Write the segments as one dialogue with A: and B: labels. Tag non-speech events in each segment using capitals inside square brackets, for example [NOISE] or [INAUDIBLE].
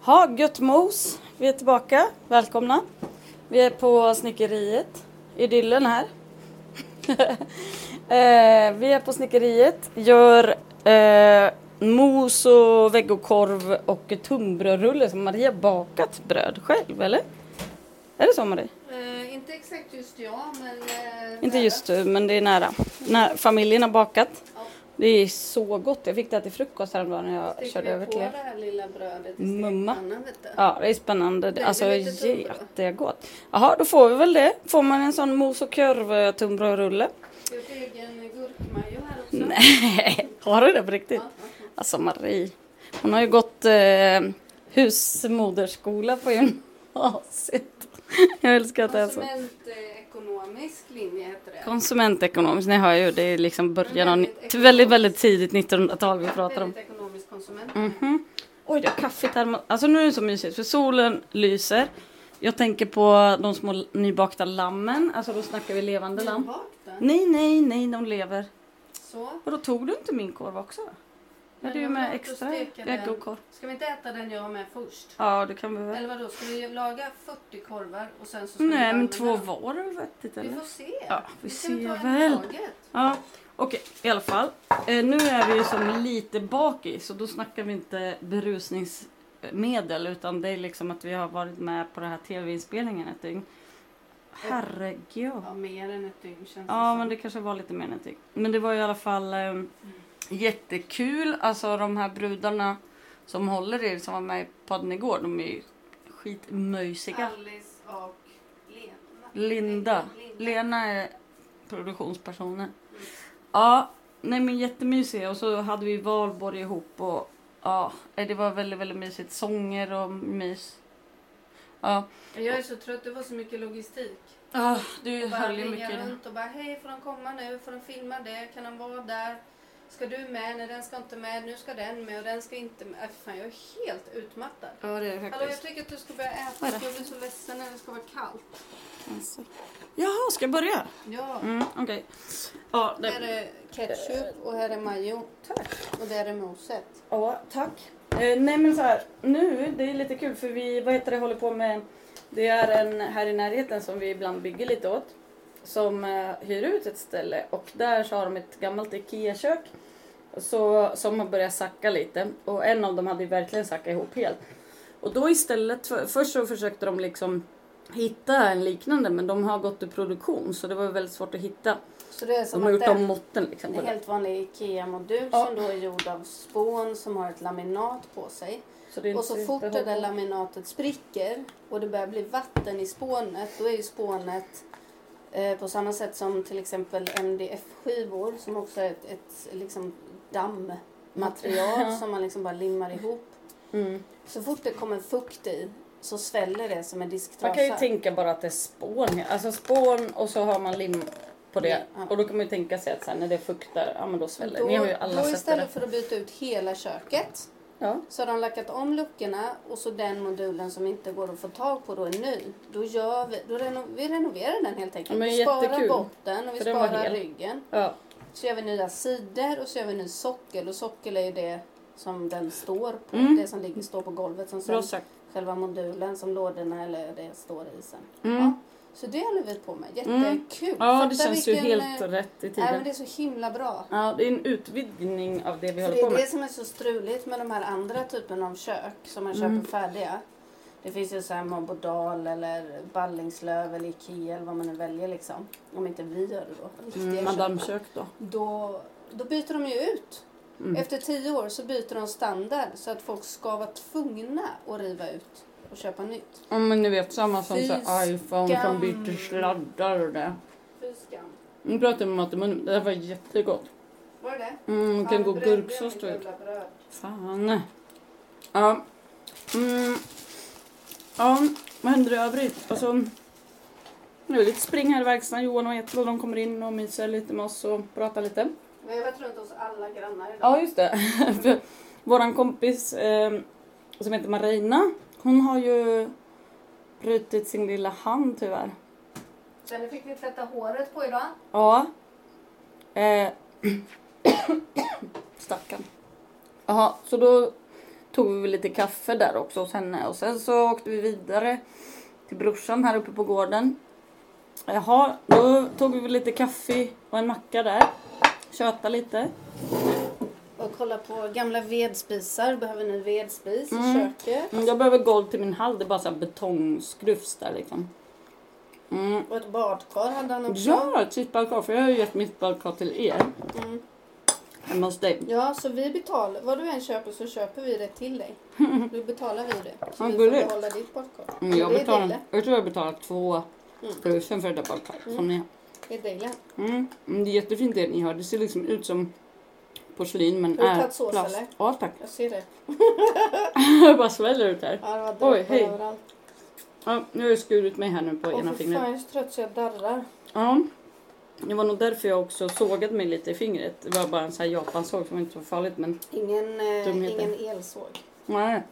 A: Ha, gött mos. Vi är tillbaka. Välkomna. Vi är på snickeriet. Idyllen här. [LAUGHS] eh, vi är på snickeriet. Gör eh, mos och vegokorv och tunnbrödsrulle som Maria bakat bröd själv, eller? Är det så Marie?
B: Eh, inte exakt just jag, men... eh,
A: Inte
B: nära.
A: just du, men det är nära. När familjen har bakat.
B: Ja.
A: Det är så gott. Jag fick det här till frukost häromdagen när jag
B: Steker
A: körde
B: vi
A: över
B: på
A: till er.
B: det här lilla brödet i
A: Mumma.
B: stekpannan, vet du.
A: Ja, det är spännande.
B: Det är
A: alltså
B: lite tunnbröd.
A: jättegott. Jaha, då får vi väl det. Får man en sån mos och korv-tunnbrödsrulle? [LAUGHS]
B: Gjort egen gurkmajo här också.
A: Nej, har du det på riktigt?
B: Ja, ja,
A: Alltså Marie, hon har ju gått eh, husmoderskola på gymnasiet. [LAUGHS] jag alltså. älskar
B: ja.
A: att det är så.
B: Konsumentekonomisk eh, linje heter det.
A: Konsumentekonomisk, ni hör ju, det är liksom början av...
B: Väldigt
A: ni-
B: ekonomiskt.
A: Väldigt, väldigt tidigt 1900-tal vi pratar om.
B: Väldigt ekonomisk konsument.
A: Mhm. Oj, det är kaffet här. Alltså nu är det så mysigt för solen lyser. Jag tänker på de små nybakta lammen. Alltså då snackar vi levande lamm.
B: Nybakt, va?
A: Nej, nej, nej, de lever.
B: Så.
A: Och då tog du inte min korv också? Jag hade ju
B: Men
A: med
B: låt oss
A: extra
B: steka den.
A: äggkorv.
B: Ska vi inte äta den jag har med först?
A: Ja, det kan vi väl.
B: Eller vadå, ska vi laga 40 korvar och sen så ska vi
A: Nej, men
B: använda
A: två
B: den?
A: var är väl vettigt
B: Vi
A: eller?
B: får se.
A: Ja, vi
B: kan
A: ser
B: ta en i
A: väl.
B: taget.
A: Ja, okej, i alla fall. Eh, nu är vi ju som lite bakis så då snackar vi inte berusningsmedel utan det är liksom att vi har varit med på den här tv-inspelningen ett dygn. Herregud.
B: Ja, mer än ett dygn känns
A: Ja,
B: som.
A: men det kanske var lite mer än ett dygn. Men det var i alla fall eh, jättekul. Alltså de här brudarna som håller i det som var med i podden igår, de är ju skitmöjsiga.
B: Alice och Lena.
A: Linda.
B: Lena.
A: Lena är produktionspersonen. Ja, nej men jättemysiga. Och så hade vi valborg ihop och ja, nej, det var väldigt, väldigt mysigt. Sånger och mys. Ja,
B: Jag är så trött, det var så mycket logistik.
A: ah, du
B: Bara
A: höll ju
B: ringa
A: mycket i den.
B: runt och bara hej, får de komma nu? Får de filma det? Kan de vara där? Ska du med? Nej, den ska inte med. Nu ska den med och den ska inte med. Äh, fy fan, jag är helt utmattad.
A: Ja, det är
B: Hallå, jag
A: faktiskt.
B: tycker att du ska börja äta.
A: Vad är
B: Jag
A: det?
B: blir så ledsen när det ska vara kallt.
A: Alltså. Jaha, ska jag börja?
B: Ja.
A: Mm, okej. Ja, det-
B: Här är ketchup och här är majo. Tack. Och där är moset.
A: Ja, tack. Eh, nej men så här, nu, det är lite kul för vi, vad heter det, håller på med, det är en här i närheten som vi ibland bygger lite åt, som eh, hyr ut ett ställe och där så har de ett gammalt IKEA-kök så, som har börjat sacka lite och en av dem hade ju verkligen sackat ihop helt. Och då istället, för, först så försökte de liksom hitta en liknande men de har gått ur produktion så det var väldigt svårt att hitta.
B: Så det är
A: De
B: som
A: har
B: att
A: gjort
B: den-
A: om måtten liksom.
B: En
A: på det.
B: helt vanlig IKEA-modul
A: Ja.
B: som då är gjord av spån som har ett laminat på sig.
A: Så det är
B: Och så
A: inte
B: fort det där
A: behållbart.
B: laminatet spricker och det börjar bli vatten i spånet, då är ju spånet eh, på samma sätt som till exempel MDF-skivor som också är ett, ett liksom dammmaterial som man liksom bara limmar ihop.
A: Mm.
B: Så fort det kommer fukt i så sväller det som
A: Man kan
B: en
A: ju
B: disktrasa.
A: tänka bara att det är spån. här. Alltså spån och så har man lim på det.
B: Ja.
A: Och då kan man ju tänka sig att sen när det fuktar, ja men då sväller det.
B: Då-
A: Ni har ju alla
B: då
A: sett det. där.
B: istället för att byta ut hela köket
A: Ja.
B: Så har de lackat om luckorna och så den modulen som inte går att få tag på då är ny. Då gör vi, då reno, vi renoverar den helt enkelt.
A: Men
B: vi sparar
A: jättekul.
B: botten och vi
A: För den var
B: sparar
A: hel.
B: ryggen.
A: ja.
B: Så gör vi nya sidor och så gör vi ny sockel och sockel är ju det som den står på.
A: Mm.
B: Det som ligger står på golvet som sen
A: Bra sagt.
B: själva modulen som lådorna eller det står i sen.
A: Mm.
B: Ja. Så det håller vi på med. Jättekul!
A: Ja det
B: Fattar
A: känns ju
B: vilken,
A: helt
B: eh,
A: rätt i
B: Nej men
A: tiden.
B: det är så himla bra.
A: Ja det är en utvidgning av det vi
B: För
A: håller
B: det
A: på
B: är
A: med.
B: det som är så struligt med de här andra typen av kök som man köper
A: Mm.
B: färdiga. Det finns ju så här Marbodal eller Ballingslöv eller Ikea eller vad man nu väljer liksom. Om inte vi gör det då. Riktiga
A: Mm,
B: köp.
A: Madamekök då. Mm.
B: Då, då byter de ju ut. Efter tio år så byter de standard så att folk ska vara tvungna att riva ut och köpa nytt.
A: Ja men ni vet samma som så här
B: Fy
A: iPhone som
B: skam.
A: byter sladdar och det.
B: Fy skam.
A: Nu pratar vi mat i munnen. Det där var jättegott.
B: Var det det?
A: Mm, det kan
B: Fan,
A: gå
B: brände jag
A: gurksås
B: mitt
A: då.
B: jävla bröd.
A: Fan. Ja. Mm. Ja, vad händer i övrigt? Alltså, nu är lite spring här i verkstaden. Johan och Ethel de kommer in och myser lite med oss och pratar lite.
B: Vi har varit runt hos alla grannar idag.
A: Ja, just det. [LAUGHS] För Våran kompis eh, som heter Marina, hon har ju brutit sin lilla hand tyvärr.
B: Den fick vi tvätta håret på idag.
A: Ja. [COUGHS] Eh. Stackarn. Jaha, så då tog vi väl lite kaffe där också hos henne och sen så åkte vi vidare till brorsan här uppe på gården. Jaha, då tog vi väl lite kaffe och en macka där. Köta lite.
B: Och kolla på gamla vedspisar. Behöver ni vedspis i
A: Mm.
B: köket?
A: Mm, Jag behöver golv till min hall, det är bara så här betongskruffs där liksom. Mm.
B: Och ett badkar hade han också.
A: Ja, ett sitt badkar, för jag har ju gett mitt badkar till er
B: Mm.
A: hemma hos dig.
B: Ja, så vi betalar. Vad du än köper så köper vi det
A: [LAUGHS]
B: till dig. Då betalar vi det. Så
A: Vad
B: vi
A: gulligt.
B: får behålla ditt badkar.
A: Mm, jag,
B: det är Mm.
A: betalar,
B: Dejle.
A: jag tror jag betalar 2000 för det där badkaret
B: Mm.
A: som ni har.
B: Det är Dejle.
A: Mm. mm, Det är jättefint det ni har. Det ser liksom ut som porslin men
B: Har du
A: är
B: tagit sås,
A: äh, plast.
B: eller?
A: Ja
B: [LAUGHS]
A: tack.
B: Jag ser det.
A: Jag bara sväller ut här.
B: Ja, det var
A: Oj,
B: droppar
A: hej.
B: överallt.
A: Ja, nu har jag skurit mig här nu på
B: Åh,
A: ena
B: fy fan,
A: fingret.
B: jag är så trött så jag darrar.
A: Ja. Det var nog därför jag också sågade mig lite i fingret. Det var bara en sån här japansåg som inte var farligt men
B: Ingen, eh,
A: Dumheter.
B: ingen elsåg.
A: nej.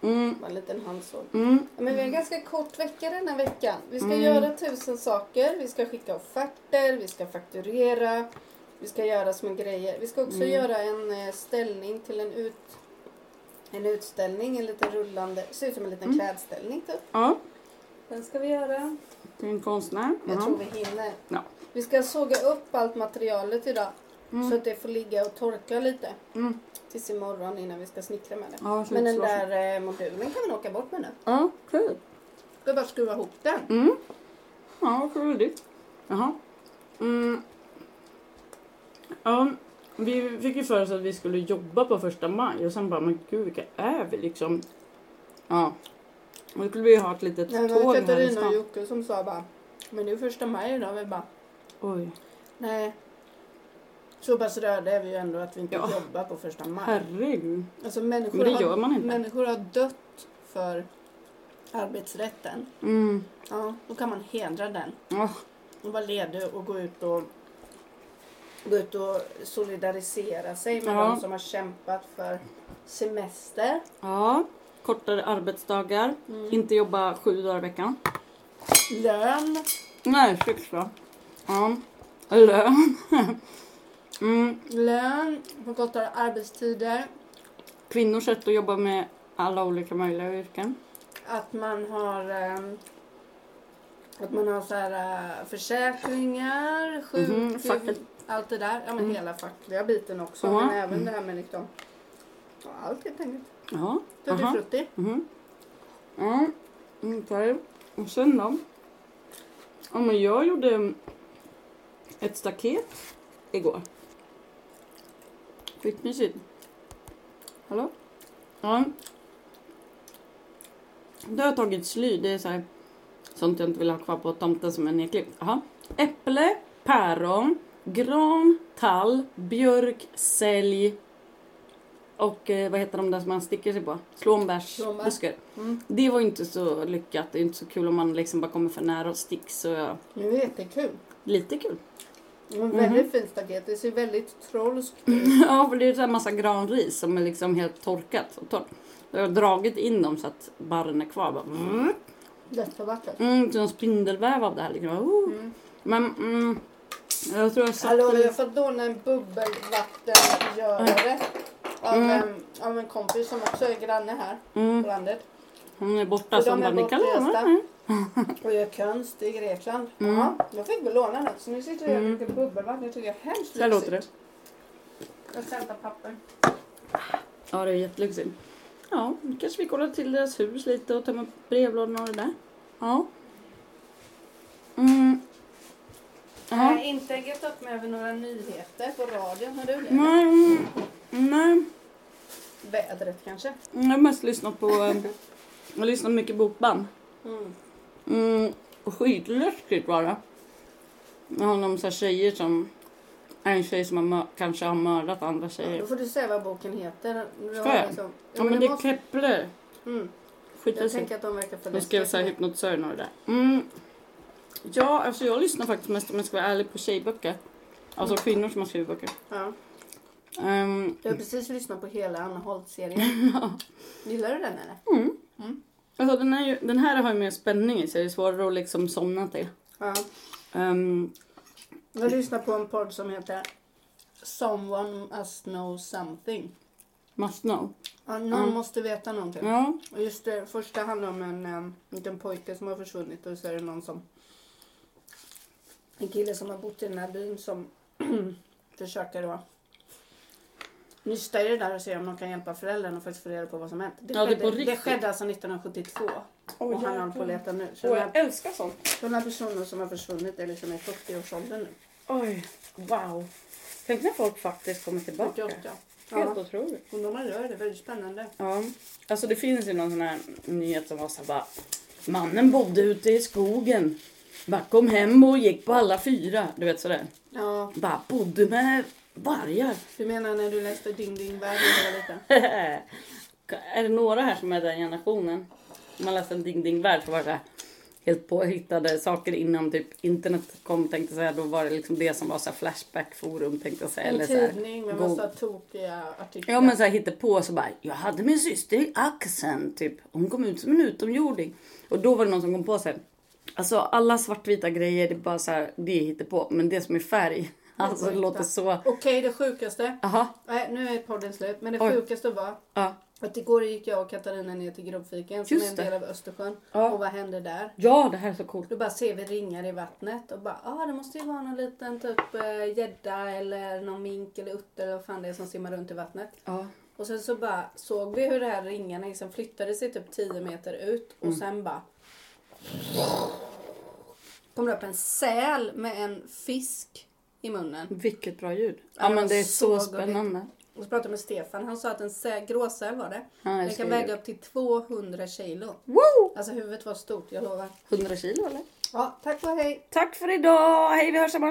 A: Mm,
B: Bara en liten handsåg.
A: mm,
B: Ja, Men vi har en ganska kort vecka den här veckan. Vi ska
A: Mm.
B: göra tusen saker. Vi ska skicka offerter, vi ska fakturera, vi ska göra små grejer. Vi ska också
A: Mm.
B: göra en eh, ställning till en, ut, en utställning, en liten rullande, ser ut som en liten
A: Mm.
B: klädställning typ.
A: ja.
B: Den ska vi göra.
A: Till en konstnär.
B: Jag
A: Ja.
B: tror vi hinner.
A: Mm. Ja.
B: Vi ska såga upp allt materialet idag så
A: Mm,
B: att det får ligga och torka lite
A: mm.
B: tills imorgon innan vi ska snickra med det.
A: Ja,
B: Men den
A: slutslås.
B: där eh, modulen kan vi nog åka bort med nu.
A: Ja, kul.
B: Vi bara skruva ihop den.
A: Mm. Ja, vad kul det. Jaha. Mm. Ja, vi fick ju för oss att vi skulle jobba på första maj och sen bara, men gud vilka är vi liksom? Ja. Och då skulle vi ju ha ett litet
B: Nej, det
A: tåg
B: var
A: här i
B: Katarina och
A: stan.
B: Jocke som sa bara, men det är ju första maj idag. Vi bara,
A: Oj,
B: nej. Så pass röda är vi ju ändå att vi inte
A: Ja.
B: jobbar på första maj.
A: herregud.
B: Alltså människor
A: Men det
B: har,
A: gör man inte.
B: människor har dött för arbetsrätten.
A: Mm.
B: Ja, då kan man hedra den.
A: Ja,
B: Och vara ledig och gå ut och gå ut och solidarisera sig med
A: Ja.
B: de som har kämpat för semester.
A: ja. kortare arbetsdagar. Inte jobba sju dagar i veckan.
B: Lön.
A: Nej, sex då. Ja. Lön. [LAUGHS] mm.
B: Lön. Förkortade arbetstider.
A: Kvinnors sätt att jobba med alla olika möjliga yrken.
B: Att man har ehm, att man har så här, eh, försäkringar, sjuk...
A: Mhm, facket.
B: allt det där. Ja, men
A: Mm.
B: hela fackliga biten också.
A: Ja.
B: Men även
A: Mm.
B: det här med liksom... Ja, allt helt enkelt.
A: Ja.
B: Tutti
A: Aha.
B: frutti.
A: Mhm. Ja, okej. Och sen då? Ja, men jag gjorde ett staket igår. Skitmysigt. Hallå? Ja. Då har jag tagit sly. Det är så här, sånt jag inte vill ha kvar på tomten som är nedklippt. Jaha. Äpple, päron, gran, tall, björk, sälj och eh, vad heter de där som man sticker sig på? Slånbärsbuskar.
B: Mm.
A: Det var ju inte så lyckat. Det är inte så kul om man liksom bara kommer för nära och sticks. Så jag...
B: Det är jättekul.
A: Lite kul. [LAUGHS]
B: Men
A: Mhm.
B: väldigt fint staket. Det ser väldigt trolskt
A: ja, för det är så här massa granris som är liksom helt torkat och torrt. Jag har dragit in dem så att barren är kvar. Bara, mm,
B: lättförvattnat.
A: mm, som en spindelväv av det här. Liksom. Oh.
B: Mm.
A: Men mm, jag tror jag satt...
B: Hallå,
A: lite-
B: jag får då en bubbelvattengörare av,
A: Mm.
B: en, av en kompis som också är granne här
A: Mm,
B: på landet.
A: hon är borta
B: För
A: så hon
B: de
A: bara,
B: är
A: ni kan leva.
B: bortresta."
A: Mm.
B: Och gör konst i Grekland.
A: Mm.
B: Ja, jag fick väl låna något så nu sitter jag och
A: Mm.
B: dricker bubbelvatten. Jag tycker det är hemskt
A: Så här låter det.
B: Jag hämtar papper.
A: Ja, det är jättelyxigt. Ja, nu kanske vi kollar till deras hus lite och tömmer brevlådorna och det där. Ja. Mm.
B: Jag har
A: Ja.
B: inte gett upp mig över några nyheter på radion. Har du det?
A: Nej, mm, nej.
B: Vädret kanske?
A: Jag har mest lyssnat på... eh, Jag har lyssnat mycket bokband.
B: Mm.
A: Mm, skitläskigt var det. Det handlar om så här tjejer som... En tjej som har, mör- kanske har mördat andra
B: Ja,
A: tjejer.
B: då får du säga vad boken heter. Du
A: Ska
B: har
A: jag?
B: liksom- Jo,
A: Ja, men
B: du
A: det är
B: måste-
A: Kepler.
B: mm. Jag
A: Skitläskigt.
B: tänker att de verkar för
A: De skrev
B: läskiga
A: så här
B: för mig.
A: hypnotisören och det där. Mm. Ja, alltså jag lyssnar faktiskt mest om jag ska vara ärlig på tjejböcker. Alltså
B: Mm.
A: kvinnor som har skrivit böcker.
B: Ja.
A: Ehm,
B: Jag har precis lyssnat på hela Anna Holt-serien.
A: [LAUGHS]
B: Gillar du den eller?
A: mm.
B: Mm.
A: Alltså den, är ju, den här har ju mer spänning i sig, det är svårare att liksom somna till.
B: Ja.
A: Ehm,
B: Jag lyssnar på en podd som heter Someone must know something.
A: Must know.
B: Ja, någon
A: Mm.
B: måste veta någonting.
A: Ja.
B: Och just det första handlar om en um, liten pojke som har försvunnit och så är det någon som... En kille som har bott i den här byn som [CLEARS THROAT] försöker då nysta i det där och se om de kan hjälpa föräldrarna och faktiskt få reda på vad som hänt. Det,
A: Ja, det är på
B: skedde, det,
A: riktigt.
B: skedde alltså 1972 och han håller på att leta nu. Så
A: Åh,
B: den
A: jag
B: här,
A: älskar sånt.
B: den här personen som har försvunnit är liksom i 40-årsåldern nu.
A: Oj, wow. Tänk när folk faktiskt kommer tillbaka.
B: 48.
A: Helt
B: Ja,
A: otroligt.
B: och de gör det. Väldigt spännande.
A: Ja. Alltså det finns ju någon sån här nyhet som var så här bara. Mannen bodde ute i skogen. Bara kom hem och gick på alla fyra. Du vet sådär.
B: Ja,
A: Bara bodde med vargar.
B: du menar när du läste Ding Ding Världen när du var liten?
A: [LAUGHS] är det några här som är den generationen? Om Man läste en Ding Ding Värld så var det så här, helt påhittade saker innan typ internet kom tänkte jag säga. Då var det liksom det som var så här flashbackforum tänkte jag säga.
B: En
A: Eller så här,
B: tidning med
A: go-
B: massa tokiga artiklar.
A: Ja men så här hittepå så bara, jag hade min syster i axeln typ. Hon kom ut som en utomjording. Och då var det någon som kom på sig. Alltså alla svartvita grejer, det är bara så här, det är hittepå. Men det som är färg, [LAUGHS] alltså det låter så...
B: Okej, det sjukaste.
A: Aha,
B: Nej, nu är podden slut. Men det
A: Oj.
B: sjukaste var
A: ja.
B: att igår gick jag och Katarina ner till Grobbviken som
A: Just
B: är en
A: det.
B: del av Östersjön.
A: Ja.
B: Och vad händer där?
A: Ja, det här är så coolt.
B: Då bara ser vi ringar i vattnet och bara, ah, det måste ju vara någon liten typ eh, gädda eller någon mink eller utter eller vad fan det är som simmar runt i vattnet.
A: Ja.
B: Och sen så bara såg vi hur de här ringarna liksom flyttade sig typ 10 meter ut och sen bara kom det upp en säl med en fisk i munnen.
A: Vilket bra ljud.
B: Ja,
A: Ja, men det är så,
B: så gulligt.
A: spännande.
B: Och så pratade jag med Stefan, han sa att en sä- gråsäl var det.
A: Ja, jag
B: Den
A: ser
B: kan
A: ju.
B: väga upp till 200 kilo.
A: Woo!
B: Alltså huvudet var stort, jag lovar.
A: 100 kilo eller?
B: Ja, tack och hej!
A: Tack för idag! Hej, vi hörs imorgon!